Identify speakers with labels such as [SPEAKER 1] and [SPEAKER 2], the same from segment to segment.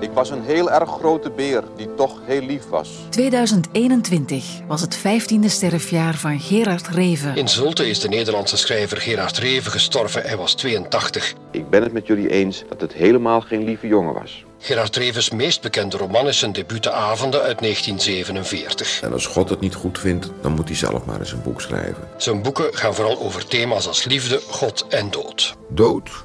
[SPEAKER 1] Ik was een heel erg grote beer die toch heel lief was.
[SPEAKER 2] 2021 was het 15e sterfjaar van Gerard Reven.
[SPEAKER 3] In Zulte is de Nederlandse schrijver Gerard Reven gestorven. Hij was 82.
[SPEAKER 1] Ik ben het met jullie eens dat het helemaal geen lieve jongen was.
[SPEAKER 3] Gerard Revens meest bekende roman is zijn debuut De Avonden uit 1947.
[SPEAKER 4] En als God het niet goed vindt, dan moet hij zelf maar eens een boek schrijven.
[SPEAKER 3] Zijn boeken gaan vooral over thema's als liefde, God en dood.
[SPEAKER 4] Dood.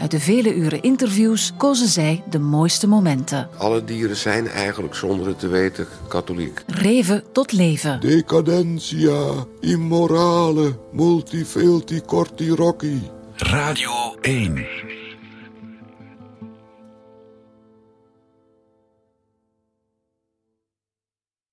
[SPEAKER 2] Uit de vele uren interviews kozen zij de mooiste momenten.
[SPEAKER 4] Alle dieren zijn eigenlijk, zonder het te weten, katholiek.
[SPEAKER 2] Reven tot leven.
[SPEAKER 5] Decadentia, immorale, multifelti corti rocci.
[SPEAKER 6] Radio 1.